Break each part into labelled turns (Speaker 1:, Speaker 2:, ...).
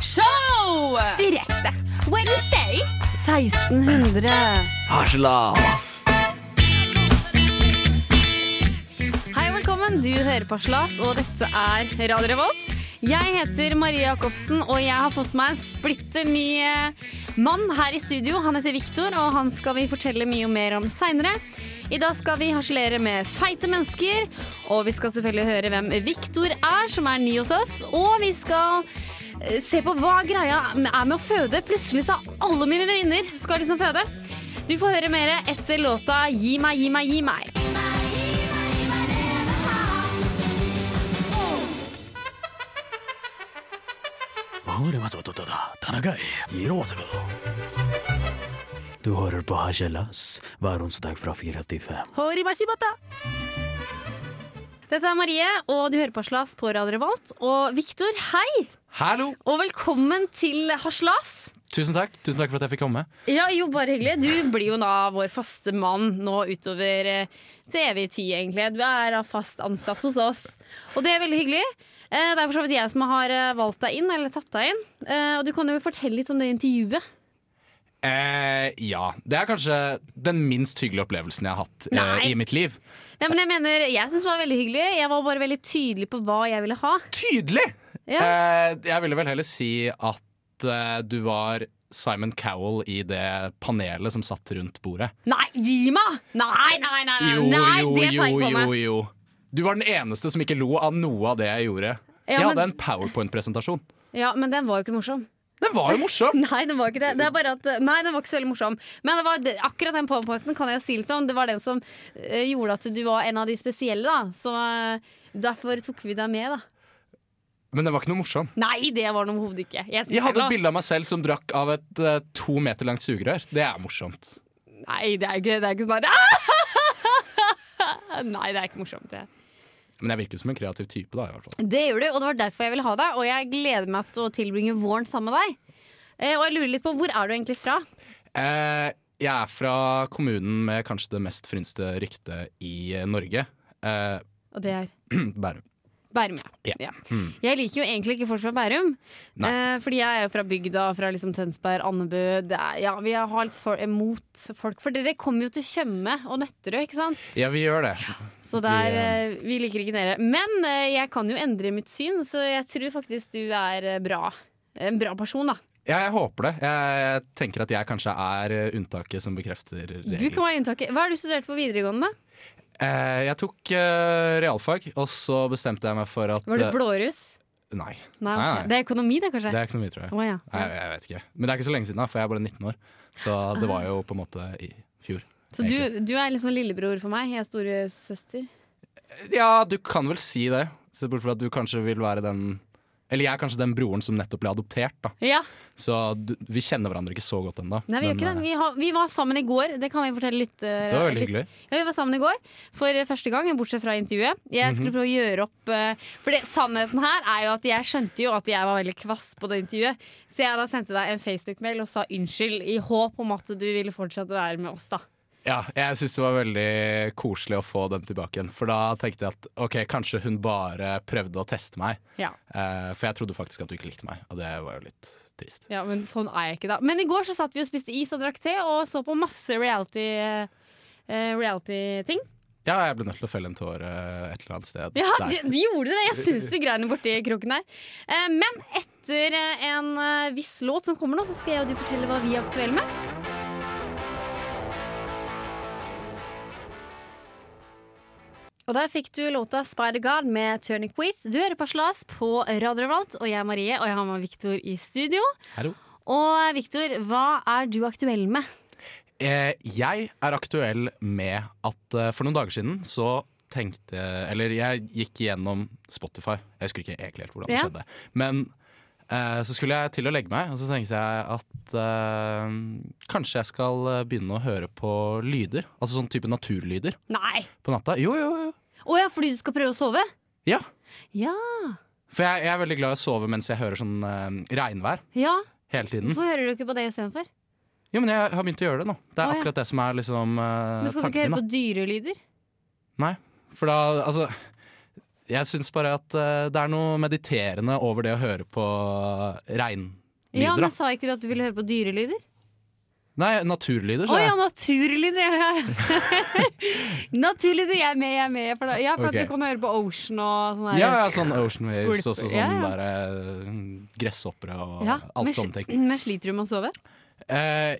Speaker 1: Show!
Speaker 2: Direkte. Wednesday.
Speaker 1: 1600.
Speaker 3: Harselas.
Speaker 1: Hei og velkommen. Du hører på Slas, og dette er Radio Revolt. Jeg heter Marie Jacobsen, og jeg har fått meg en splitter ny eh, mann her i studio. Han heter Viktor, og han skal vi fortelle mye mer om seinere. I dag skal vi harselere med feite mennesker, og vi skal selvfølgelig høre hvem Viktor er, som er ny hos oss. Og vi skal eh, se på hva greia er med å føde. Plutselig sa alle mine venninner skal liksom føde. Du får høre mer etter låta 'Gi meg, gi meg, gi meg'.
Speaker 3: Du hører på Harselas hver onsdag fra fire til fem.
Speaker 1: Dette er Marie, og du hører på Haslas på Radio Revolt. Og Viktor, hei!
Speaker 4: Hallo!
Speaker 1: Og velkommen til Haslas.
Speaker 4: Tusen takk Tusen takk for at jeg fikk komme.
Speaker 1: Ja, jo, bare hyggelig. Du blir jo da vår faste mann nå utover eh, til evig tid, egentlig. Du er da fast ansatt hos oss, og det er veldig hyggelig. Eh, Det er for så vidt jeg som har eh, valgt deg inn, eller tatt deg inn. Eh, Og du kan jo fortelle litt om det intervjuet.
Speaker 4: Eh, ja. Det er kanskje den minst hyggelige opplevelsen jeg har hatt eh,
Speaker 1: Nei.
Speaker 4: i mitt liv.
Speaker 1: Nei, men jeg mener, jeg syns det var veldig hyggelig. Jeg var bare veldig tydelig på hva jeg ville ha.
Speaker 4: Tydelig!
Speaker 1: Ja.
Speaker 4: Eh, jeg ville vel heller si at eh, du var Simon Cowell i det panelet som satt rundt bordet.
Speaker 1: Nei, gi meg! Nei, nei, nei! nei,
Speaker 4: Jo,
Speaker 1: Eh, nei
Speaker 4: jo,
Speaker 1: det tar jeg
Speaker 4: jo,
Speaker 1: ikke på meg.
Speaker 4: jo, jo. Du var den eneste som ikke lo av noe av det jeg gjorde.
Speaker 1: Ja,
Speaker 4: jeg
Speaker 1: men-
Speaker 4: hadde en powerpoint-presentasjon.
Speaker 1: Ja, men den var jo ikke morsom.
Speaker 4: Den var jo morsom!
Speaker 1: Nei, den var ikke det. det er bare at, nei, den var ikke så veldig morsom. Men det var, det- akkurat den powerpointen kan jeg si litt om. Det var den som eh, gjorde at du var en av de spesielle, da. Så eh, derfor tok vi deg med, da.
Speaker 4: Men den var ikke noe morsom.
Speaker 1: Nei, det var den overhodet ikke. Jeg, synes
Speaker 4: Jeg hadde
Speaker 1: det
Speaker 4: et
Speaker 1: var-
Speaker 4: bilde av meg selv som drakk av et eh, to meter langt sugerør. Det er morsomt.
Speaker 1: Nei, det er ikke, det er ikke sånn der. Nei, det er ikke morsomt. Det.
Speaker 4: Men jeg virker som en kreativ type, da. i hvert fall
Speaker 1: det gjør du, og det var derfor jeg ville ha deg. Og jeg gleder meg til å tilbringe våren sammen med deg. Eh, og jeg lurer litt på, hvor er du egentlig fra?
Speaker 4: eh, Jeg er fra kommunen med kanskje det mest frynste ryktet i eh, Norge. Eh,
Speaker 1: Og det er
Speaker 4: Bærum.
Speaker 1: Bærum, ja.
Speaker 4: Ja. Hmm.
Speaker 1: ja. Jeg liker jo egentlig ikke folk fra Bærum.
Speaker 4: Nei.
Speaker 1: Eh, fordi jeg er jo fra bygda, fra liksom Tønsberg, Andebø. Det er, ja, vi har litt for, mot folk. For dere kommer jo til Tjøme og Nøtterøy, ikke sant?
Speaker 4: Ja, vi gjør det.
Speaker 1: Så der,
Speaker 4: Vi, eh,
Speaker 1: eh, vi liker ikke dere. Men eh, jeg kan jo endre mitt syn, så jeg tror faktisk du er eh, bra. En bra person, da.
Speaker 4: Ja, jeg håper det. Jeg tenker at jeg kanskje er eh, unntaket som bekrefter
Speaker 1: Du
Speaker 4: regelen.
Speaker 1: kan være unntaket. Hva har du studert på videregående, da?
Speaker 4: Eh, jeg tok eh, realfag, og så bestemte jeg meg for at
Speaker 1: Var du
Speaker 4: eh,
Speaker 1: blåruss?
Speaker 4: Nei.
Speaker 1: Nei,
Speaker 4: nei,
Speaker 1: ok.
Speaker 4: nei.
Speaker 1: Det er økonomi, det, kanskje?
Speaker 4: Det er ikke noe mye, tror jeg.
Speaker 1: Å, ja.
Speaker 4: Nei, jeg, jeg vet ikke. Men det er ikke så lenge siden, da, for jeg er bare 19 år. Så det var jo på en måte i fjor.
Speaker 1: Så du, du er liksom lillebror for meg. Jeg er storesøster.
Speaker 4: Ja, du kan vel si det. Se bort fra at du kanskje vil være den Eller jeg er kanskje den broren som nettopp ble adoptert, da.
Speaker 1: Ja.
Speaker 4: Så du, vi kjenner hverandre ikke så godt ennå.
Speaker 1: Nei, vi gjør
Speaker 4: Men,
Speaker 1: ikke det.
Speaker 4: eh,
Speaker 1: Vi, har, vi var sammen i går. Det kan vi fortelle litt. eh,
Speaker 4: Det var veldig
Speaker 1: litt-
Speaker 4: hyggelig.
Speaker 1: Ja, vi var sammen i går for første gang, bortsett fra intervjuet. Jeg
Speaker 4: Mhm.
Speaker 1: skulle prøve å gjøre opp eh, For det, sannheten her er jo at jeg skjønte jo at jeg var veldig kvass på det intervjuet. Så jeg da sendte deg en Facebook-mail og sa unnskyld, i håp om at du ville fortsette å være med oss, da.
Speaker 4: Ja, jeg syns det var veldig koselig å få den tilbake igjen. For da tenkte jeg at ok, kanskje hun bare prøvde å teste meg.
Speaker 1: Ja.
Speaker 4: Eh, for jeg trodde faktisk at du ikke likte meg, og det var jo litt trist.
Speaker 1: ja, men sånn er jeg ikke, da. Men i går så satt vi og spiste is og drakk te og så på masse reality. eh, eh, Reality-ting.
Speaker 4: Ja, jeg ble nødt til å felle en tåre et eller annet sted.
Speaker 1: Ja,
Speaker 4: Der.
Speaker 1: de, de gjorde det! Jeg syns de greiene borti kroken der. Eh, Men etter eh, en eh, viss låt som kommer nå, så skal jeg og du fortelle hva vi er aktuelle med. Og der fikk du låta 'Spider God' med Turnipweed. Du hører på Slas på Radio Revolt, og jeg er Marie, og jeg har med Viktor i studio.
Speaker 4: Hallo.
Speaker 1: Og Viktor, hva er du aktuell med?
Speaker 4: Eh, jeg er aktuell med at eh, for noen dager siden så tenkte Eller jeg gikk gjennom Spotify. Jeg husker ikke egentlig helt hvordan det
Speaker 1: Ja.
Speaker 4: skjedde. Men eh, så skulle jeg til å legge meg, og så tenkte jeg at eh, kanskje jeg skal eh, begynne å høre på lyder. Altså sånn type naturlyder
Speaker 1: Nei!
Speaker 4: på natta. Jo, jo, jo.
Speaker 1: Å ja, fordi du skal prøve å sove?
Speaker 4: Ja.
Speaker 1: Ja.
Speaker 4: For jeg, jeg er veldig glad i å sove mens jeg hører sånn eh, regnvær
Speaker 1: ja.
Speaker 4: hele tiden.
Speaker 1: Hvorfor hører du ikke på det istedenfor?
Speaker 4: Jo, men jeg har begynt å gjøre det nå.
Speaker 1: Å,
Speaker 4: Det er
Speaker 1: ja.
Speaker 4: akkurat det som er liksom eh,
Speaker 1: Men skal du
Speaker 4: tanken
Speaker 1: ikke
Speaker 4: min, da.
Speaker 1: høre på dyrelyder?
Speaker 4: Nei, for da, altså Jeg syns bare at eh, det er noe mediterende over det å høre på eh,
Speaker 1: Ja,
Speaker 4: regnlyder.
Speaker 1: men
Speaker 4: da.
Speaker 1: Sa ikke du at du ville høre på dyrelyder?
Speaker 4: Nei, naturlyder.
Speaker 1: Å
Speaker 4: sa jeg.
Speaker 1: ja, naturlyder! Ja, ja. naturlyder, jeg er med, jeg er med. For da, ja, for
Speaker 4: Ok.
Speaker 1: at du kan høre på Ocean og sånn. her.
Speaker 4: Ja, ja, sånn Ocean Waves
Speaker 1: Skvulp.
Speaker 4: og sånn
Speaker 1: Ja, ja.
Speaker 4: der eh, gresshoppere og
Speaker 1: Ja, men
Speaker 4: alt
Speaker 1: sli-
Speaker 4: sånne ting.
Speaker 1: Men sliter du med å sove?
Speaker 4: Eh,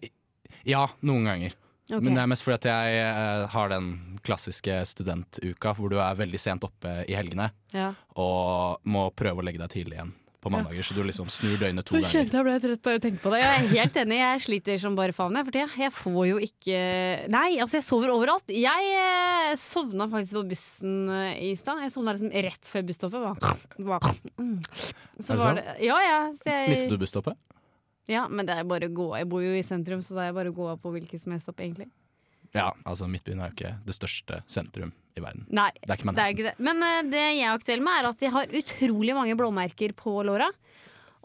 Speaker 4: ja, noen ganger.
Speaker 1: Ok.
Speaker 4: Men det er mest fordi at jeg eh, har den klassiske studentuka hvor du er veldig sent oppe i helgene
Speaker 1: Ja.
Speaker 4: og må prøve å legge deg tidlig igjen på mandager, så du liksom snur døgnet to
Speaker 1: Jeg
Speaker 4: ganger.
Speaker 1: kjente jeg ble trøtt bare jeg tenkte på det. Jeg er helt enig, jeg sliter som bare faen jeg for tida. Jeg får jo ikke Nei, altså jeg sover overalt. Jeg eh, sovna faktisk på bussen eh, i stad. Jeg sovna liksom rett før busstoppet. Bare. Bare. Mm.
Speaker 4: Er
Speaker 1: Så
Speaker 4: det
Speaker 1: var det Ja, ja. Så
Speaker 4: Mistet
Speaker 1: jeg,
Speaker 4: du busstoppet?
Speaker 1: ja men det er bare å gå. Jeg bor jo i sentrum, så det er bare å gå på hvilket som helst stopp, egentlig.
Speaker 4: Ja, altså Midtbyen er jo ikke det største sentrum i verden.
Speaker 1: Nei,
Speaker 4: Det er
Speaker 1: det er
Speaker 4: ikke Manhattan.
Speaker 1: ikke det. Men eh, det jeg er aktuell med, er at jeg har utrolig mange blåmerker på låra.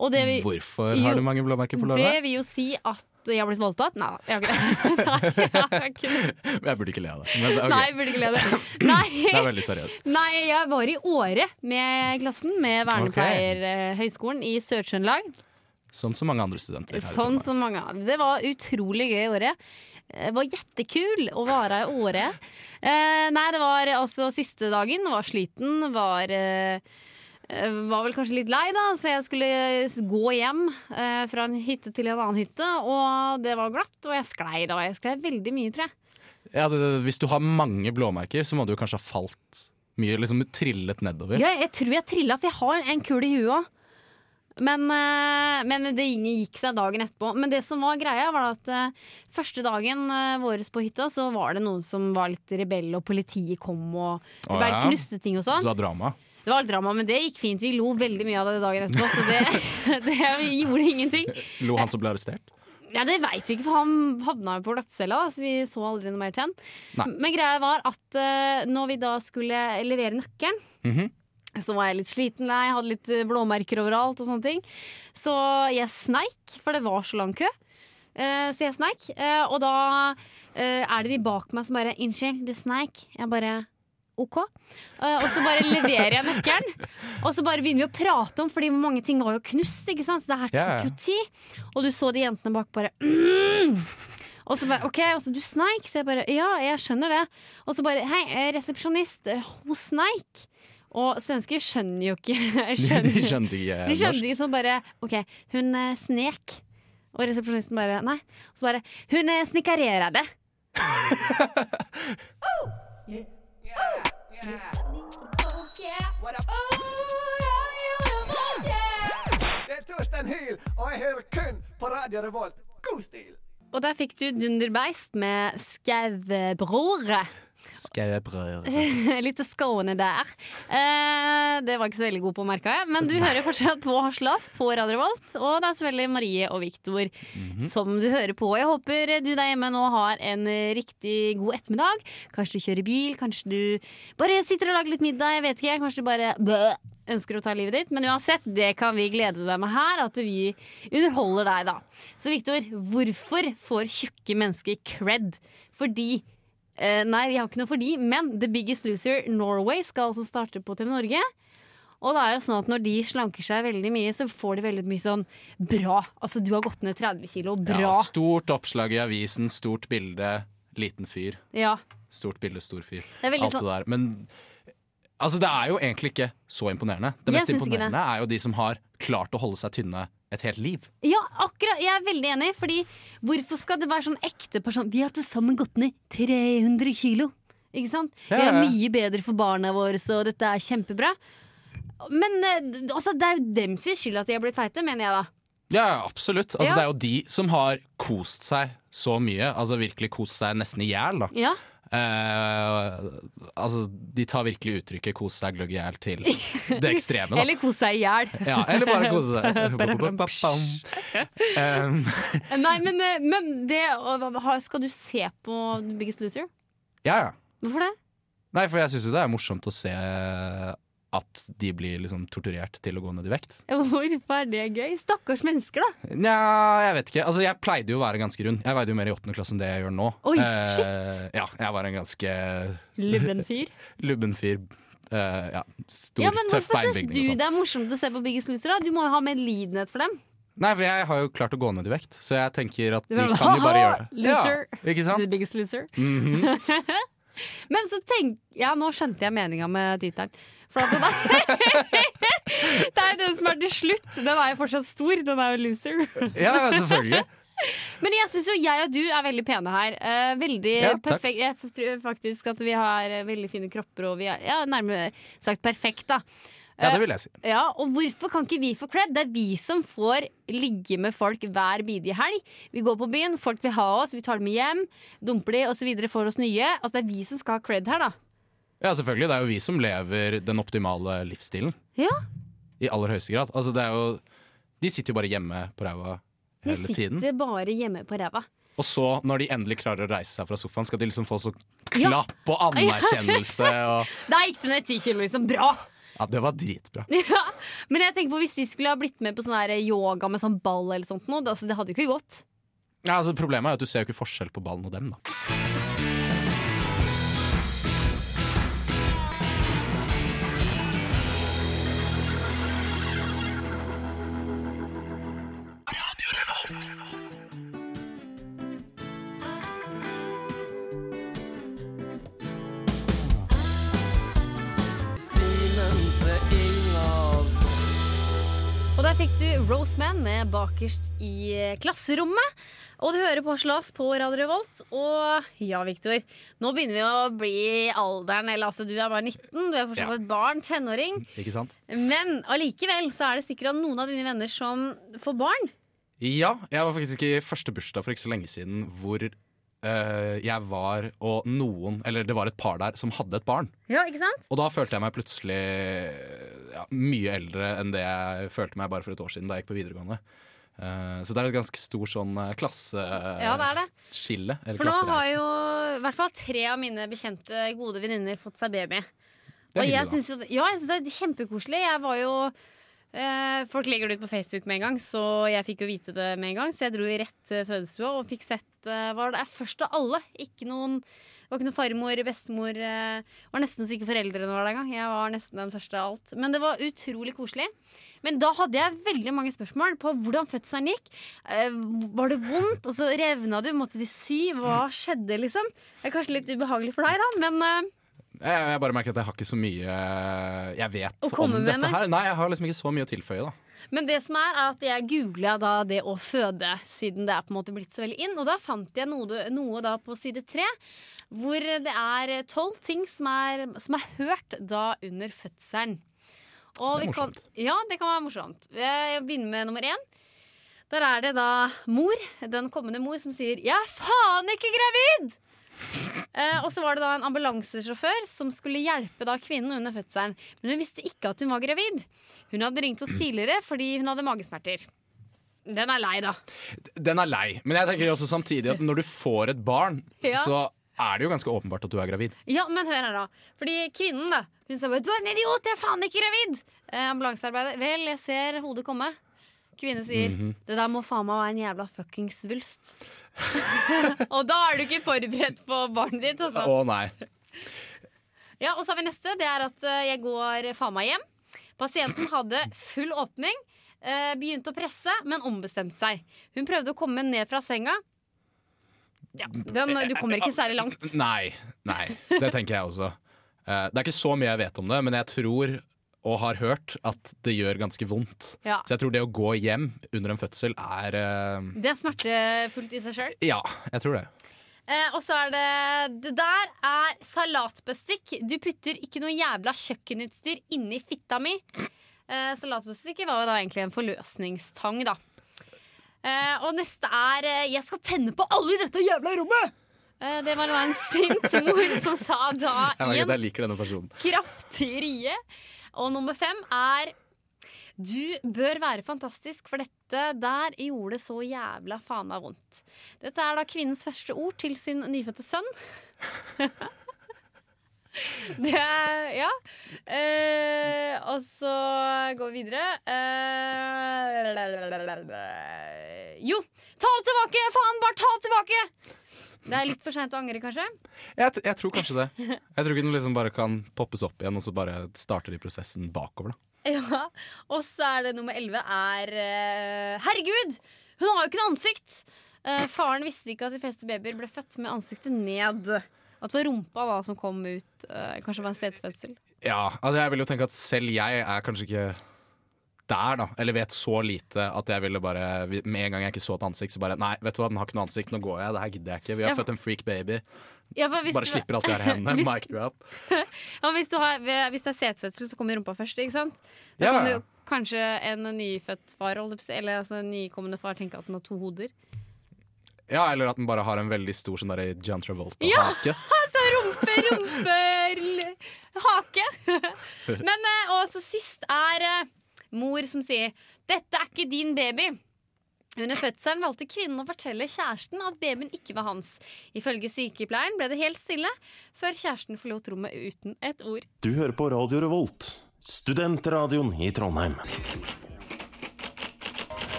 Speaker 1: Og det vi
Speaker 4: Hvorfor
Speaker 1: Jo,
Speaker 4: har du mange blåmerker på
Speaker 1: Det
Speaker 4: låret?
Speaker 1: vil jo si at jeg har blitt voldtatt. Nei da, jeg har ikke det. Nei, jeg har ikke det.
Speaker 4: Jeg burde ikke le av det, men det, ok.
Speaker 1: Nei, jeg burde ikke le av det.
Speaker 4: det er
Speaker 1: Nei.
Speaker 4: veldig seriøst.
Speaker 1: Nei, jeg var i Åre med klassen, med Vernepleierhøgskolen i Sør-Trøndelag.
Speaker 4: Som så mange andre studenter. her i
Speaker 1: Sånn
Speaker 4: Trondheim.
Speaker 1: som mange av. Det var utrolig gøy i Åre. Det var jettekul å være i Åre. Eh, nei, det var også siste dagen. Var sliten. Var eh, eh, var vel kanskje litt lei, da, så jeg skulle s- gå hjem eh, fra en hytte til en annen hytte. Og det var glatt, og jeg sklei da. Jeg sklei veldig mye, tror jeg.
Speaker 4: Ja, det, hvis du har mange blåmerker, så må du jo kanskje ha falt mye, liksom trillet nedover.
Speaker 1: Ja, jeg tror jeg trilla, for jeg har en kul i huet òg. Men, eh, men det gikk seg dagen etterpå. Men det som var greia, var at eh, første dagen eh, vår på hytta, så var det noen som var litt rebell, og politiet kom og det
Speaker 4: Å,
Speaker 1: ble
Speaker 4: ja.
Speaker 1: knuste ting og
Speaker 4: Så
Speaker 1: sånn.
Speaker 4: det var drama.
Speaker 1: Det var litt drama, men det gikk fint. Vi lo veldig mye av det dagen etterpå, så det, det gjorde ingenting.
Speaker 4: Lo han som ble arrestert?
Speaker 1: Ja, Det veit vi ikke, for han havna jo på glattcella, da, så vi så aldri noe mer til han.
Speaker 4: Nei.
Speaker 1: Men greia var at eh, når vi da skulle levere nøkkelen,
Speaker 4: Mhm.
Speaker 1: så var jeg litt sliten, nei, jeg hadde litt eh, blåmerker overalt og sånne ting. Så jeg sneik, for det var så lang kø. Eh, så jeg sneik, eh, og da eh, er det de bak meg som bare 'Unnskyld, du sneik.' Jeg bare OK. Eh, og så bare leverer jeg nøkkelen. Og så bare begynner vi å prate om, fordi mange ting var jo knust, ikke sant? så det her
Speaker 4: Ja, ja.
Speaker 1: tok jo tid. Og du så de jentene bak bare mm. Og så bare OK, og så du sneik. Så jeg bare Ja, jeg skjønner det. Og så bare Hei, eh, resepsjonist, eh, hun sneik. Og svensker skjønner jo ikke
Speaker 4: De,
Speaker 1: skjønner,
Speaker 4: de eh, skjønte ikke
Speaker 1: de skjønte
Speaker 4: norsk.
Speaker 1: ikke sånn bare OK, hun eh, snek. Og resepsjonisten bare Nei. Og så bare Hun eh, snikarerade.
Speaker 5: Det er Torsten Hyl, og jeg hører kun på Radio Revolt. God stil!
Speaker 1: Og der fikk du Dunderbeist med Skaubror. Litt skåne der. Eh, det var ikke så veldig god på, merka jeg. Men du hører fortsatt på Haslas på Radio Revolt. Og det er selvfølgelig Marie og Viktor som du hører på. Jeg håper du der hjemme nå har en eh, riktig god ettermiddag. Kanskje du kjører bil, kanskje du bare sitter og lager litt middag. Jeg vet ikke, Kanskje du bare bø, ønsker å ta livet ditt. Men uansett, det kan vi glede deg med her. At vi underholder deg, da. Så Viktor, hvorfor får tjukke mennesker cred? Fordi Eh, nei, vi har ikke noe for de, men The Biggest Loser Norway skal også starte på TV Norge. Og det er jo sånn at når de slanker seg veldig mye, så får de veldig mye sånn bra. Altså, du har gått ned 30 kilo, bra.
Speaker 4: Ja, stort oppslag i avisen, stort bilde, liten fyr.
Speaker 1: Ja,
Speaker 4: Stort bilde, stor fyr.
Speaker 1: det er veldig
Speaker 4: Alt det
Speaker 1: sånn.
Speaker 4: der. Men altså, det er jo egentlig ikke så imponerende. Det
Speaker 1: Jeg
Speaker 4: mest
Speaker 1: synes ikke det.
Speaker 4: imponerende er jo de som har klart å holde seg tynne et helt liv.
Speaker 1: Ja, akkurat. Jeg er veldig enig, fordi hvorfor skal det være sånn ekte person? Vi har til sammen gått ned 300 kilo. Ikke sant?
Speaker 4: Ja,
Speaker 1: Vi er
Speaker 4: ja, ja.
Speaker 1: mye bedre for barna våre, så dette er kjempebra. Men eh, d- altså, det er jo dem sin skyld at de har blitt feite, mener jeg da.
Speaker 4: Ja, ja, absolutt. Altså,
Speaker 1: Ja.
Speaker 4: Det er jo de som har kost seg så mye. Altså virkelig kost seg nesten i hjel, da.
Speaker 1: Ja.
Speaker 4: Eh, altså, de tar virkelig uttrykket 'kos deg gløgg i hjel' til det ekstreme. Da.
Speaker 1: Eller kose seg i hjel.
Speaker 4: Ja, eller bare kose seg. Um,
Speaker 1: Nei, men, eh, men det har- Skal du se på The Biggest Loser?
Speaker 4: ja, ja.
Speaker 1: Hvorfor det?
Speaker 4: Nei, for jeg syns jo det er morsomt å se at de blir liksom torturert til å gå ned i vekt.
Speaker 1: Hvorfor er det gøy? Stakkars mennesker, da.
Speaker 4: Nja, jeg vet ikke. Altså, jeg pleide jo å være ganske rund. Jeg veide jo mer i åttende klasse enn det jeg gjør nå.
Speaker 1: Oi,
Speaker 4: Eh, ja, jeg var en ganske
Speaker 1: Lubben fyr.
Speaker 4: lubben fyr. eh, ja, stor,
Speaker 1: Ja, men
Speaker 4: tøff
Speaker 1: Hvorfor syns
Speaker 4: beinbygning. og
Speaker 1: du
Speaker 4: sånn.
Speaker 1: det er morsomt å se på Biggest Loser? da? Du må jo ha medlidenhet for dem.
Speaker 4: Nei, for jeg har jo klart å gå ned i vekt, så jeg tenker at
Speaker 1: Du
Speaker 4: de
Speaker 1: bare,
Speaker 4: kan jo bare gjøre det.
Speaker 1: Loser.
Speaker 4: Ja, ikke
Speaker 1: The
Speaker 4: sant?
Speaker 1: biggest loser.
Speaker 4: Mhm.
Speaker 1: Men så tenk Ja, nå skjønte jeg meninga med tittelen. For at den er Det er jo den som er til slutt. Den er jo fortsatt stor. Den er jo loser.
Speaker 4: Ja, ja, selvfølgelig.
Speaker 1: Men jeg syns jo jeg og du er veldig pene her. Eh, veldig
Speaker 4: Ja, takk.
Speaker 1: perfekt. Jeg f- tror faktisk at vi har eh, veldig fine kropper, og vi er ja, nærmere sagt perfekt, da.
Speaker 4: Ja, det vil jeg si.
Speaker 1: Ja, og hvorfor kan ikke vi få cred? Det er vi som får ligge med folk hver bidige helg. Vi går på byen, folk vil ha oss, vi tar dem med hjem, dumper de osv. får oss nye. Altså det er vi som skal ha cred her, da.
Speaker 4: Ja, selvfølgelig. Det er jo vi som lever den optimale livsstilen.
Speaker 1: Ja.
Speaker 4: I aller høyeste grad. Altså, det er jo De sitter jo bare hjemme på ræva
Speaker 1: De
Speaker 4: hele tiden.
Speaker 1: sitter bare hjemme på ræva.
Speaker 4: Og så, når de endelig klarer å reise seg fra sofaen, skal de liksom få sånn
Speaker 1: Ja.
Speaker 4: klapp og anerkjennelse og
Speaker 1: Der gikk det ned ti kilo, liksom. Bra!
Speaker 4: Ja, det var dritbra.
Speaker 1: Ja. Men jeg tenker på hvis de skulle ha blitt med på sånn her yoga med sånn ball eller sånt noe, det, altså, det hadde jo ikke gått.
Speaker 4: Ja, altså, problemet er jo at du ser jo ikke forskjell på ballen og dem, da.
Speaker 1: Og der fikk du Roseman med 'Bakerst i eh, klasserommet'. Og du hører på Slass på Radio Revolt. Og ja, Victor, nå begynner vi å bli i alderen. Eller altså, du er bare 19, du er fortsatt
Speaker 4: Ja.
Speaker 1: et barn, tenåring.
Speaker 4: Ikke sant?
Speaker 1: Men allikevel så er det sikkert noen av dine venner som får barn.
Speaker 4: Ja, jeg var faktisk i første bursdag for ikke så lenge siden hvor eh, jeg var og noen, eller det var et par der, som hadde et barn.
Speaker 1: Ja, ikke sant?
Speaker 4: Og da følte jeg meg plutselig ja, mye eldre enn det jeg følte meg bare for et år siden da jeg gikk på videregående. Eh, så det er et ganske stor sånn eh, klasseskille.
Speaker 1: Ja, det er det.
Speaker 4: Eller
Speaker 1: For nå har
Speaker 4: klassereise.
Speaker 1: jo i hvert fall tre av mine bekjente gode venninner fått seg baby.
Speaker 4: Det er
Speaker 1: Og jeg
Speaker 4: hyggelig, da.
Speaker 1: syns jo ja, jeg synes det er kjempekoselig. Jeg var jo eh, Folk legger det ut på Facebook med en gang, så jeg fikk jo vite det med en gang. Så jeg dro i rett til fødestua og fikk sett eh, hva det er først av alle. Ikke noen det var ikke noen farmor, bestemor eh, Var nesten så ikke foreldrene var der engang. Jeg var nesten den første av alt. Men det var utrolig koselig. Men da hadde jeg veldig mange spørsmål på hvordan fødselen gikk. Eh, var det vondt? Og så revna du? Måtte de sy? Hva skjedde, liksom? Det er kanskje litt ubehagelig for deg, da, men eh,
Speaker 4: Jeg, jeg bare merker at jeg har ikke så mye eh, jeg vet
Speaker 1: Å komme
Speaker 4: om
Speaker 1: med,
Speaker 4: dette
Speaker 1: nei.
Speaker 4: her. Nei, jeg har liksom ikke så mye å tilføye, da.
Speaker 1: Men det som er, er at jeg googla da det å føde, siden det er på en måte blitt så veldig inn. Og da fant jeg noe, noe da på side tre, hvor det er tolv ting som er, som er hørt da under fødselen. Og
Speaker 4: Det er
Speaker 1: vi kan,
Speaker 4: morsomt.
Speaker 1: ja, det kan være morsomt. Jeg begynner med nummer én. Der er det da mor, den kommende mor, som sier 'Jeg er faen ikke gravid!' Eh, og så var det da en ambulansesjåfør som skulle hjelpe da kvinnen under fødselen. Men hun visste ikke at hun var gravid. Hun hadde ringt oss tidligere fordi hun hadde magesmerter. Den er lei, da.
Speaker 4: Den er lei. Men jeg tenker jo også samtidig at når du får et barn,
Speaker 1: Ja.
Speaker 4: så er det jo ganske åpenbart at du er gravid.
Speaker 1: Ja, men hør her, da. Fordi kvinnen, da. Hun sa bare 'du er en idiot, jeg er faen ikke gravid'. Eh, ambulansearbeidet. Vel, jeg ser hodet komme. Kvinne sier 'det der må faen meg være en jævla fuckings svulst'. og da er du ikke forberedt på barnet ditt, altså.
Speaker 4: Å nei.
Speaker 1: Ja, og så har vi neste. Det er at eh, jeg går faen meg hjem. Pasienten hadde full åpning, eh, begynte å presse, men ombestemte seg. Hun prøvde å komme ned fra senga. Ja, den, du kommer ikke særlig langt.
Speaker 4: Nei. Nei. Det tenker jeg også. Eh, Det er ikke så mye jeg vet om det, men jeg tror og har hørt at det gjør ganske vondt.
Speaker 1: Ja.
Speaker 4: Så jeg tror det å gå hjem under en fødsel er eh,
Speaker 1: Det er smertefullt i seg sjøl.
Speaker 4: Ja, jeg tror det.
Speaker 1: Eh, og så er det Det der er salatbestikk. Du putter ikke noe jævla kjøkkenutstyr inni fitta mi. Eh, salatbestikket var jo da egentlig en forløsningstang, da. Eh, og neste er eh, 'Jeg skal tenne på alle i dette jævla rommet'! Eh, det var da en sint mor som sa da
Speaker 4: Jeg, merker
Speaker 1: i
Speaker 4: at
Speaker 1: en
Speaker 4: jeg liker denne personen.
Speaker 1: kraftig rie. Og nummer fem er du bør være fantastisk, for dette der gjorde så jævla faen meg vondt. Dette er da kvinnens første ord til sin nyfødte sønn. Det er Ja. Eh, og så går vi videre. Eh, Jo, ta det tilbake! Faen, bare ta det tilbake! Det er litt for seint å angre, kanskje.
Speaker 4: Jeg, t- jeg tror kanskje det. Jeg tror ikke den liksom bare kan poppes opp igjen, og så bare starter de prosessen bakover. da
Speaker 1: Ja, Og så er det nummer 11 er eh, Herregud! Hun har jo ikke noe ansikt! Eh, faren visste ikke at de fleste babyer ble født med ansiktet ned. At det var rumpa da som kom ut. eh, kanskje det var en stedfødsel.
Speaker 4: Ja, altså Jeg vil jo tenke at selv jeg er kanskje ikke der, da. Eller vet så lite at jeg ville bare Med en gang jeg ikke så et ansikt, så bare Nei, vet du hva, den har ikke noe ansikt, nå går jeg. Det her gidder jeg ikke. Vi har
Speaker 1: Ja.
Speaker 4: født en freak baby.
Speaker 1: Ja, for hvis
Speaker 4: Bare
Speaker 1: du-
Speaker 4: slipper alt det her i hendene.
Speaker 1: Hvis-
Speaker 4: Mic drop.
Speaker 1: Ja, hvis, du har, hvis det er setfødsel, så kommer rumpa først, ikke sant? Da
Speaker 4: Ja,
Speaker 1: kan
Speaker 4: ja.
Speaker 1: jo kanskje en nyfødt far, holdt jeg på å si, eller altså, en nykommende far, tenke at den har to hoder.
Speaker 4: Ja, eller at den bare har en veldig stor sånn derre John Travolta-hake.
Speaker 1: Altså rumpe, rumpe, l- hake. Men eh, og så sist er eh, mor som sier 'Dette er ikke din baby'. Under fødselen valgte kvinnen å fortelle kjæresten at babyen ikke var hans. Ifølge sykepleieren ble det helt stille før kjæresten forlot rommet uten et ord.
Speaker 6: Du hører på Radio Revolt, studentradioen i Trondheim.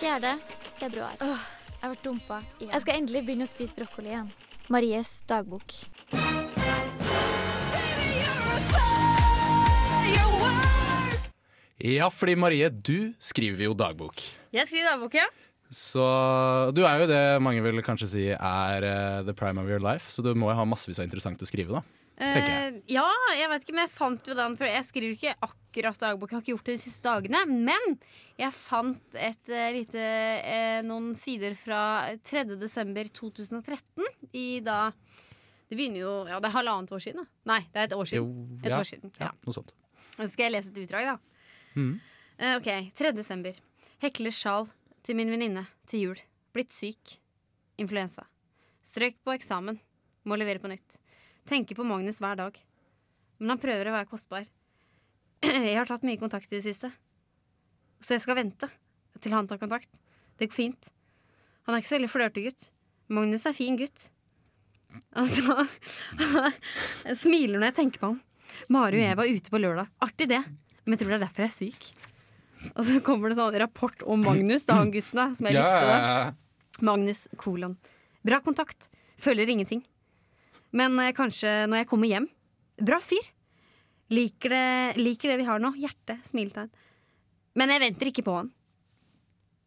Speaker 7: Fjerde februar. Jeg har vært dumpa igjen. Jeg skal endelig begynne å spise brokkoli igjen. Maries dagbok.
Speaker 4: Ja, fordi Marie, du skriver jo dagbok.
Speaker 1: Jeg skriver dagbok, ja.
Speaker 4: Så du er jo det mange vil kanskje si er eh, the prime of your life, så du må jo ha massevis av interessant å skrive, da. tenker jeg.
Speaker 1: Eh, ja, jeg vet ikke, men jeg fant jo den For jeg skriver ikke akkurat dagbok, jeg har ikke gjort det de siste dagene. Men jeg fant et eh, lite eh, noen sider fra 3.12.2013 i da Det begynner jo Ja, det er halvannet år siden, da. Nei, det er et år siden.
Speaker 4: Jo,
Speaker 1: Et
Speaker 4: ja,
Speaker 1: år siden. Ja.
Speaker 4: ja, noe sånt.
Speaker 1: Nå skal jeg lese et utdrag, da.
Speaker 4: Mm.
Speaker 1: Eh, ok, 3. desember. Hekler sjal til min venninne til jul. Blitt syk. Influensa. Strøk på eksamen. Må levere på nytt. Tenker på Magnus hver dag. Men han prøver å være kostbar. Jeg har tatt mye kontakt i det siste. Så jeg skal vente til han tar kontakt. Det går fint. Han er ikke så veldig flørtegutt. Magnus er fin gutt. Altså Jeg smiler når jeg tenker på ham. Mari og jeg var ute på lørdag. Artig det. Men jeg tror det er derfor jeg er syk. Og så kommer det sånn rapport om Magnus, da han gutten da, som jeg likte. Da. Magnus kolon. Bra kontakt. Føler ingenting. Men eh, kanskje når jeg kommer hjem. Bra fyr. Liker det, liker det vi har nå. Hjerte, smiletegn. Men jeg venter ikke på han.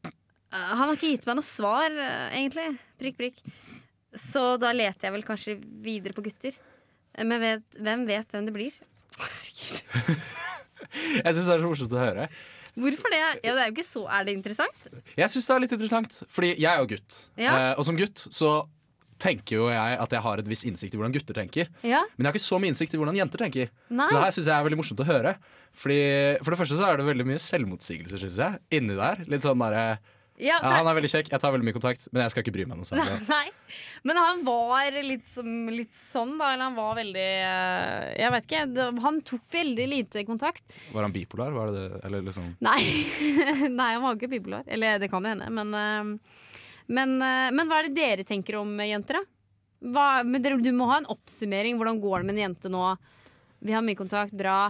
Speaker 1: Eh, Han har ikke gitt meg noe svar, eh, egentlig. Prikk, prikk. Så da leter jeg vel kanskje videre på gutter. Eh, Men vet, hvem vet hvem det blir? Herregud.
Speaker 4: Jeg syns det er så morsomt å høre.
Speaker 1: Hvorfor det? Ja, det er jo ikke så Er det interessant?
Speaker 4: Jeg syns det er litt interessant, fordi jeg er jo gutt.
Speaker 1: Ja.
Speaker 4: Eh, og som gutt så tenker jo jeg at jeg har et visst innsikt i hvordan gutter tenker.
Speaker 1: Ja.
Speaker 4: Men jeg har ikke så mye innsikt i hvordan jenter tenker.
Speaker 1: Nei.
Speaker 4: Så det her synes jeg er veldig morsomt å høre. Fordi, for det første så er det veldig mye selvmotsigelse, synes jeg. Inni der. Litt sånn derre
Speaker 1: Ja,
Speaker 4: ja, Han er veldig kjekk, jeg tar veldig mye kontakt, men jeg skal ikke bry meg noe særlig.
Speaker 1: Nei, men han var litt, som, litt sånn da Eller han var veldig eh, Jeg vet ikke, det, han tok veldig lite kontakt
Speaker 4: Var han bipolar? Var det det? Eller liksom
Speaker 1: Nei, Nei han var ikke bipolar Eller det kan jo hende men, eh, men, eh, men hva er det dere tenker om eh, jenter da? Hva, men dere, du må ha en oppsummering Hvordan går det med en jente nå? Vi har mye kontakt, bra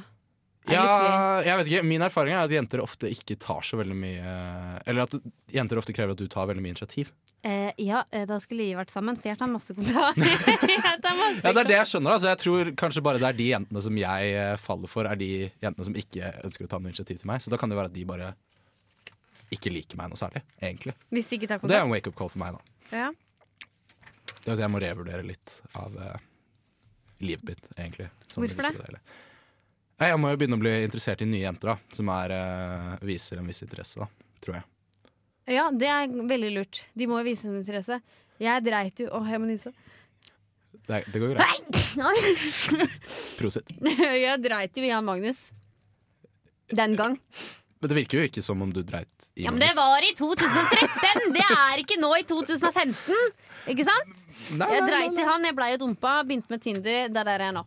Speaker 1: Er lykkelig.
Speaker 4: Ja, jeg vet ikke. Min erfaring er at jenter ofte ikke tar så veldig mye Eller at jenter ofte krever at du tar veldig mye initiativ.
Speaker 1: Eh, ja, eh, da skulle vi vært sammen For jeg tar masse kontakt Jeg tar masse
Speaker 4: Ja, Det er det jeg skjønner. Altså, jeg tror kanskje bare det er de jentene som jeg eh, faller for, er de jentene som ikke ønsker å ta noe initiativ til meg. Så da kan det være at de bare ikke liker meg noe særlig, egentlig.
Speaker 1: Hvis de ikke tar
Speaker 4: Og det er en
Speaker 1: kontakt
Speaker 4: wake-up call for meg, da.
Speaker 1: ja.
Speaker 4: Det er at jeg må revurdere litt av eh, livet mitt, egentlig. som
Speaker 1: Hvorfor
Speaker 4: jeg
Speaker 1: det?
Speaker 4: husker eller. Nei, Jeg må jo begynne å bli interessert i nye jenter, da. Som er, eh, viser en viss interesse, da. Tror jeg.
Speaker 1: Ja, det er veldig lurt. De må jo vise en interesse. Jeg dreit jo Åh, jeg må nyse.
Speaker 4: Det, det går greit. Prosit.
Speaker 1: jeg dreit jo i han Magnus. Den gang.
Speaker 4: Men det virker jo ikke som om du dreit i
Speaker 1: Ja, Men
Speaker 4: meg.
Speaker 1: det var i 2013! Det er ikke nå i 2015! Ikke sant?
Speaker 4: Nei,
Speaker 1: Jeg
Speaker 4: nei, nei,
Speaker 1: dreit i han, jeg blei jo dumpa, begynte med Tinder. Det er der jeg er nå.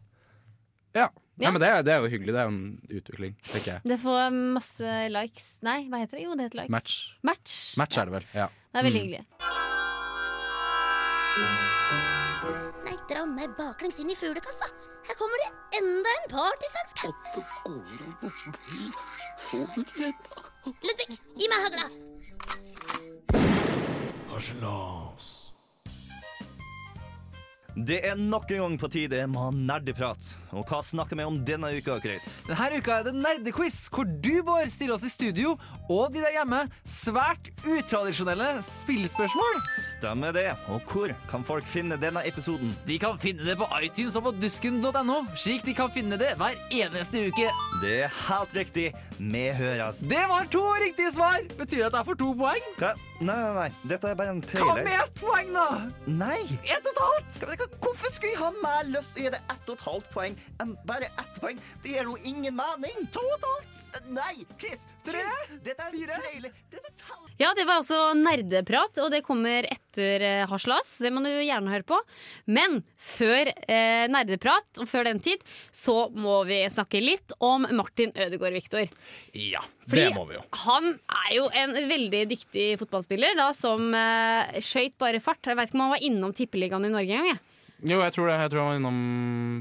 Speaker 4: Ja.
Speaker 1: Ja.
Speaker 4: Nei, men det, er- det er jo hyggelig. Det er jo en utvikling, tenker jeg.
Speaker 1: Det får masse likes. Nei, hva heter det? Jo, det heter likes.
Speaker 4: Match.
Speaker 1: Match.
Speaker 4: Match Mm. er det vel. Ja.
Speaker 1: Det er veldig hyggelig.
Speaker 8: Nei, dra meg baklengs inn i fuglekassa. Hæ? Her kommer det enda en partysvenske. Ludvig, gi meg hagla.
Speaker 9: Det er nok en gang på tide med å ha nerdeprat. Og hva snakker vi om denne uka, Chris?
Speaker 10: Denne uka er det nerdequiz, hvor du, Bård, stiller oss i studio og de der hjemme svært utradisjonelle spillespørsmål.
Speaker 9: Stemmer det. Og hvor kan folk finne denne episoden?
Speaker 10: De kan finne det på iTunes og på dusken.no, slik de kan finne det hver eneste uke.
Speaker 9: Det er helt riktig. Vi høres.
Speaker 10: Det var to riktige svar! Betyr det at det er for to poeng?
Speaker 9: Hva? Nei, nei, nei. Dette er bare en
Speaker 10: Hva med
Speaker 9: trailer.
Speaker 10: ett poeng, da?
Speaker 9: Nei!
Speaker 10: Ett totalt!
Speaker 9: Hva- hva- Hvorfor skulle jeg ha mer lyst til å gi det ett og et halvt poeng enn bare ett poeng? Det gir jo ingen mening. To og et halvt. Nei, Chris. Tre. Dette er en trailer. Dette er tall.
Speaker 1: Ja, det var også nerdeprat, og det kommer etter eh, Haslas. Det må du gjerne høre på. Men før eh, nerdeprat, og før den tid, så må vi snakke litt om Martin Ødegaard, Viktor.
Speaker 4: Ja,
Speaker 1: Fordi
Speaker 4: det må vi jo.
Speaker 1: Han er jo en veldig dyktig fotballspiller, da, som eh, skøyt bare fart. Jeg vet ikke om han var innom tippeligaen i Norge engang. jeg.
Speaker 4: Jo, jeg tror det. Jeg tror han var innom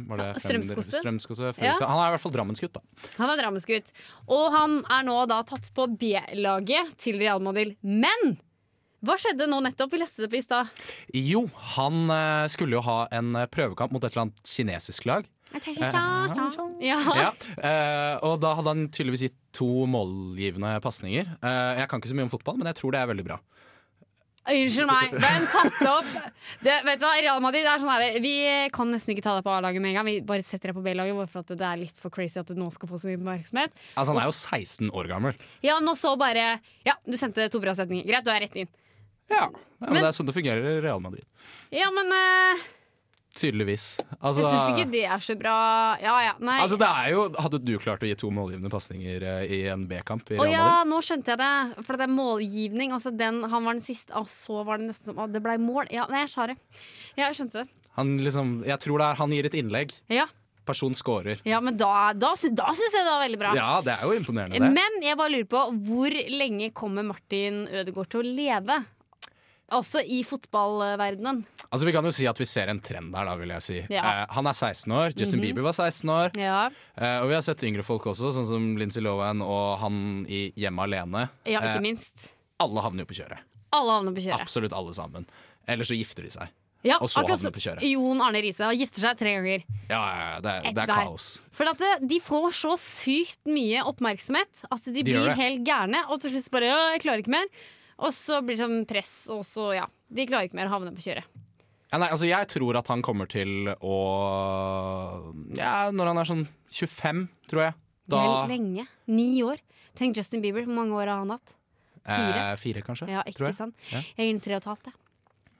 Speaker 4: var det
Speaker 1: Ja,
Speaker 4: Frem-
Speaker 1: Strømskose.
Speaker 4: Strømskose, Fredrikstad.
Speaker 1: Ja.
Speaker 4: Han er i hvert fall Drammensgutt, da.
Speaker 1: Han er drammensgutt. Og han er nå da tatt på B-laget til Real Madrid. Men hva skjedde nå nettopp? Vi leste det på i stad.
Speaker 4: Jo, han eh, skulle jo ha en eh, prøvekamp mot et eller annet kinesisk lag.
Speaker 1: Ja.
Speaker 4: Ja, eh, og da hadde han tydeligvis gitt to målgivende pasninger. Eh, jeg kan ikke så mye om fotball, men jeg tror det er veldig bra.
Speaker 1: Unnskyld meg, den tatt opp. Det, vet du hva, Real Madrid det er sånn her, Vi kan nesten ikke ta deg på A-laget med en gang. Vi bare setter deg på B-laget, bare for at det er litt for crazy at du nå skal få så mye oppmerksomhet.
Speaker 4: Altså, han er jo 16 år gammel.
Speaker 1: Ja, nå så bare Ja, du sendte to bra setninger. Greit, du er rett inn.
Speaker 4: Ja, men,
Speaker 1: Men-
Speaker 4: Det er sånn det fungerer i Real Madrid.
Speaker 1: Ja, men eh,
Speaker 4: Tydeligvis.
Speaker 1: jeg
Speaker 4: Altså,
Speaker 1: syns ikke det er så bra. Ja ja, nei.
Speaker 4: altså, det er jo, hadde du klart å gi to målgivende pasninger eh, i en B-kamp i
Speaker 1: Å
Speaker 4: Real
Speaker 1: ja,
Speaker 4: Madrid?
Speaker 1: nå skjønte jeg det. For det er målgivning. Altså den, han var den siste, og så var det nesten som Å, det ble mål. Ja, nei, jeg sa det. Ja, jeg skjønte det.
Speaker 4: Han, liksom, jeg tror det er, han gir et innlegg,
Speaker 1: Ja,
Speaker 4: person scorer.
Speaker 1: ja men da, da, sy- da syns jeg det var veldig bra.
Speaker 4: Ja, det er jo imponerende, det.
Speaker 1: Men jeg bare lurer på hvor lenge kommer Martin Ødegaard til å leve? Altså i fotballverdenen.
Speaker 4: Altså, vi kan jo si at vi ser en trend her, da, vil jeg si.
Speaker 1: Ja. Mhm.
Speaker 4: Eh, han er 16 år, Justin Bieber var 16 år.
Speaker 1: Ja,
Speaker 4: Eh, og vi har sett yngre folk også, sånn som Lindsay Lohan og han i Hjemme alene.
Speaker 1: ikke
Speaker 4: Eh,
Speaker 1: minst.
Speaker 4: alle havner jo på kjøret.
Speaker 1: Alle havner på kjøret.
Speaker 4: Absolutt alle sammen. Eller så gifter de seg.
Speaker 1: Ja,
Speaker 4: og så
Speaker 1: akkurat
Speaker 4: havner
Speaker 1: som
Speaker 4: på kjøret.
Speaker 1: Jon Arne Riise han gifter seg tre ganger.
Speaker 4: Ja, ja, ja, det, er-
Speaker 1: Etter
Speaker 4: det er
Speaker 1: deg.
Speaker 4: kaos.
Speaker 1: For at det, de får så sykt mye oppmerksomhet at de,
Speaker 4: gjør
Speaker 1: blir
Speaker 4: det.
Speaker 1: helt gærne. Og til slutt bare «Å, 'jeg klarer ikke mer'. Og så blir det sånn press, og så ja. De klarer ikke mer å havne på kjøret.
Speaker 4: Ja, nei, altså jeg tror at han kommer til å Ja, når han er sånn 25, tror jeg. Da
Speaker 1: Det er Lenge. Ni år. Tenk Justin Bieber, hvor mange år har han hatt?
Speaker 4: eh, fire, kanskje.
Speaker 1: Ja, ikke
Speaker 4: tror jeg.
Speaker 1: sant?
Speaker 4: Ja.
Speaker 1: Jeg er inne tre og et halvt, jeg.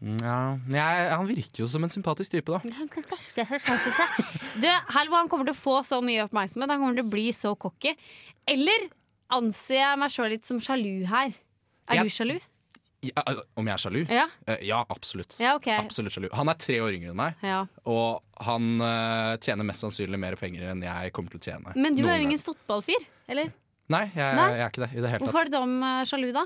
Speaker 4: Ja, jeg, han virker jo som en sympatisk type, da.
Speaker 1: sånn Du, Halvo, han kommer til å få så mye oppmerksomhet. Han kommer til å bli så cocky. Eller anser jeg meg sjøl litt som sjalu her. Er
Speaker 4: Ja.
Speaker 1: du sjalu?
Speaker 4: Ja, al- om jeg er sjalu?
Speaker 1: Ja.
Speaker 4: Eh, ja, absolutt.
Speaker 1: Ja, ok.
Speaker 4: Absolutt sjalu. Han er tre år yngre enn meg,
Speaker 1: Ja.
Speaker 4: og han eh, tjener mest sannsynlig mer penger enn jeg kommer til å tjene.
Speaker 1: Men du
Speaker 4: noen
Speaker 1: er jo
Speaker 4: gang.
Speaker 1: ingen fotballfyr, eller?
Speaker 4: Nei, jeg,
Speaker 1: Nei.
Speaker 4: jeg er ikke det i det hele
Speaker 1: Hvorfor
Speaker 4: tatt.
Speaker 1: er du dom eh, sjalu, da?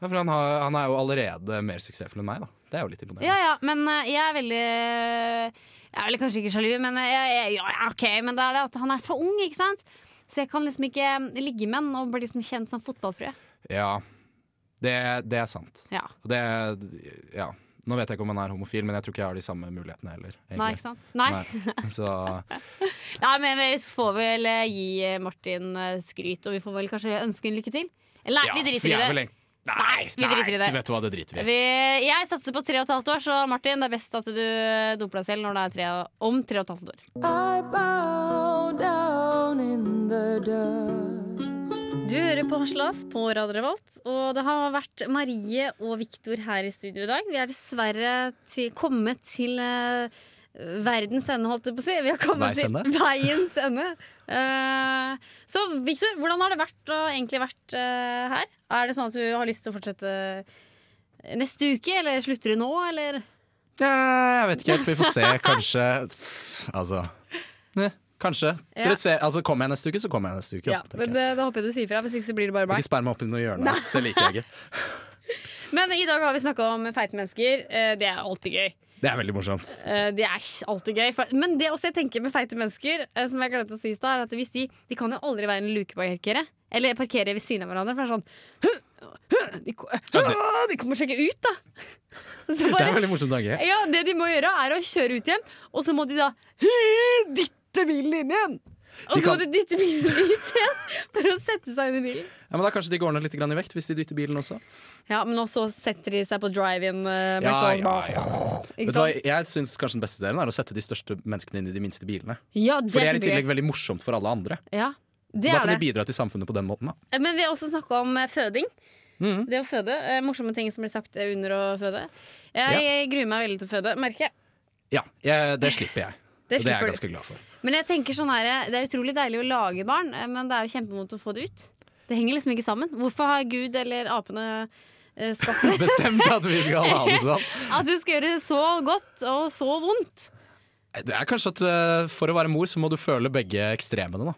Speaker 4: Ja, For han, har, han er jo allerede mer suksessfull enn meg, da. Det er jo litt imponerende.
Speaker 1: Ja ja, men eh, jeg er veldig Jeg er vel kanskje ikke sjalu, men jeg, jeg, ja, ja, OK. Men det er det at han er for ung, ikke sant? Så jeg kan liksom ikke ligge med han og bli liksom kjent som fotballfrø.
Speaker 4: Ja, det, det er sant.
Speaker 1: Ja.
Speaker 4: Og det, ja. Nå vet jeg ikke om han er homofil, men jeg tror ikke jeg har de samme mulighetene heller.
Speaker 1: Nei,
Speaker 4: egentlig.
Speaker 1: ikke sant? Nei. Nei.
Speaker 4: Nei. Så
Speaker 1: men vi får vel eh, gi eh, Martin eh, skryt, og vi får vel kanskje ønske en lykke til. Eller nei,
Speaker 4: ja,
Speaker 1: vi
Speaker 4: for jeg
Speaker 1: driter i
Speaker 4: er
Speaker 1: det.
Speaker 4: vel egentlig- Nei,
Speaker 1: Nei, vi driter i det.
Speaker 4: Vet du hva, det driter vi i.
Speaker 1: Vi, jeg satser på tre og et halvt år, så Martin, det er best at du eh, doper deg selv når det er tre, om tre og et halvt år. Du hører på Haslas på Radio Revolt, og det har vært Marie og Viktor her i studio i dag. Vi er dessverre til, kommet til eh, verdens ende, holdt jeg på å si. Vi har kommet
Speaker 4: Veis ende?
Speaker 1: til veiens ende. Eh, så Viktor, hvordan har det vært å egentlig vært eh, her? Er det sånn at du har lyst til å fortsette neste uke, eller slutter du nå, eller?
Speaker 4: Ja, jeg vet ikke helt. Vi får se. Kanskje Altså. Ne, kanskje.
Speaker 1: Ja.
Speaker 4: Dere ser, altså, kommer jeg neste uke, så kommer jeg neste uke.
Speaker 1: Ja,
Speaker 4: da, tenker
Speaker 1: men
Speaker 4: jeg.
Speaker 1: det, da håper jeg du sier fra, hvis ikke så blir det bare meg.
Speaker 4: Ikke sperr meg opp i noe hjørne. Det liker jeg ikke.
Speaker 1: Men i dag har vi snakka om feite mennesker. Eh, Det er alltid gøy.
Speaker 4: Det er veldig morsomt.
Speaker 1: Eh, Det er ikke alltid gøy. For, men det også jeg tenker med feite mennesker, eh, som jeg glemte å si i stad, er at hvis de, de kan jo aldri være en lukeparkere. Eller parkere ved siden av hverandre. For det er sånn de, ko- de kommer seg ikke ut, da! Så
Speaker 4: Det er en
Speaker 1: bare,
Speaker 4: veldig morsom tanke.
Speaker 1: ja, det de må gjøre, er å kjøre ut igjen, og så må de da dytte bilen inn igjen! Og
Speaker 4: De
Speaker 1: så
Speaker 4: kan-
Speaker 1: må de dytte bilen ut igjen for å sette seg inn i bilen.
Speaker 4: Ja, men da Kanskje de går ned litt grann i vekt hvis de dytter bilen også?
Speaker 1: Ja, Men også setter de seg på drive-in. eh,
Speaker 4: Ja,
Speaker 1: McDonald's,
Speaker 4: ja,
Speaker 1: bare-
Speaker 4: ja.
Speaker 1: Ikke
Speaker 4: Vet du hva,
Speaker 1: sant?
Speaker 4: jeg syns kanskje den beste delen er å sette de største menneskene inn i de minste bilene.
Speaker 1: Ja, det
Speaker 4: For det er i
Speaker 1: kjempegøy.
Speaker 4: tillegg veldig morsomt for alle andre.
Speaker 1: Ja, det
Speaker 4: Da
Speaker 1: er
Speaker 4: kan de
Speaker 1: det.
Speaker 4: bidra til samfunnet på den måten. da
Speaker 1: Men vi har også snakka om eh, føding.
Speaker 4: Mm.
Speaker 1: Det å føde. eh, Morsomme ting som blir sagt eh, under å føde. Jeg gruer meg veldig til å føde, merker jeg.
Speaker 4: Ja, jeg, Det slipper jeg.
Speaker 1: Det
Speaker 4: og det er
Speaker 1: slipper
Speaker 4: jeg
Speaker 1: du.
Speaker 4: ganske glad for.
Speaker 1: Men jeg tenker sånn her, eh, det er utrolig deilig å lage barn, eh, men det er jo kjempevondt å få det ut. Det henger liksom ikke sammen. Hvorfor har Gud eller apene eh, skapt det?
Speaker 4: Bestemt at vi skal ha det sånn.
Speaker 1: At det skal gjøre så godt og så vondt.
Speaker 4: Det er kanskje at eh, For å være mor så må du føle begge ekstremene. da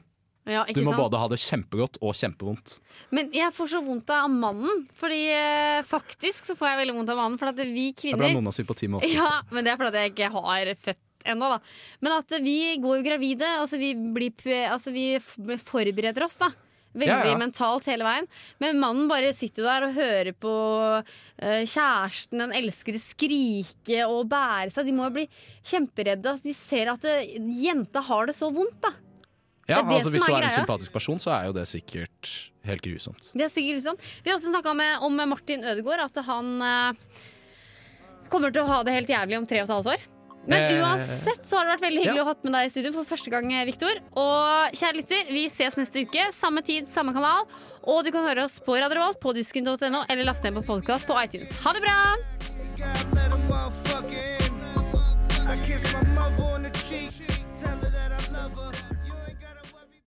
Speaker 1: Ja, ikke
Speaker 4: Du må
Speaker 1: sant?
Speaker 4: både ha det kjempegodt og kjempevondt.
Speaker 1: Men jeg får så vondt av mannen. Fordi eh, faktisk så får jeg veldig vondt av mannen. For at vi
Speaker 4: Det
Speaker 1: kvinner
Speaker 4: ble noen av sympati med oss også.
Speaker 1: Ja, men det er fordi jeg ikke har født ennå, da. Men at vi går jo gravide. Altså vi, blir, pu- altså vi f- forbereder oss, da. Veldig
Speaker 4: Ja, ja.
Speaker 1: mentalt hele veien. Men mannen bare sitter jo der og hører på eh, kjæresten den elskede skrike og bære seg. De må jo bli kjemperedde. Altså, de ser at eh, jenta har det så vondt, da.
Speaker 4: Ja,
Speaker 1: Det er det
Speaker 4: altså
Speaker 1: som
Speaker 4: Hvis
Speaker 1: er
Speaker 4: du er en
Speaker 1: greia.
Speaker 4: sympatisk person, så er jo det sikkert helt grusomt.
Speaker 1: Det er sikkert sånn. Vi har også snakka om Martin Ødegaard, at han eh, kommer til å ha det helt jævlig om tre og et halvt år. Men
Speaker 4: Eh,
Speaker 1: uansett så har det vært veldig hyggelig å ha hatt med deg i studio for første gang, Viktor. Og kjære lytter, vi ses neste uke. Samme tid, samme kanal. Og du kan høre oss på Radio Revolt, på dusken.no, eller laste ned på podkast på iTunes. Ha det bra!
Speaker 5: God let a motherfucker in. I kiss my mother on the cheek, tell her that I love her.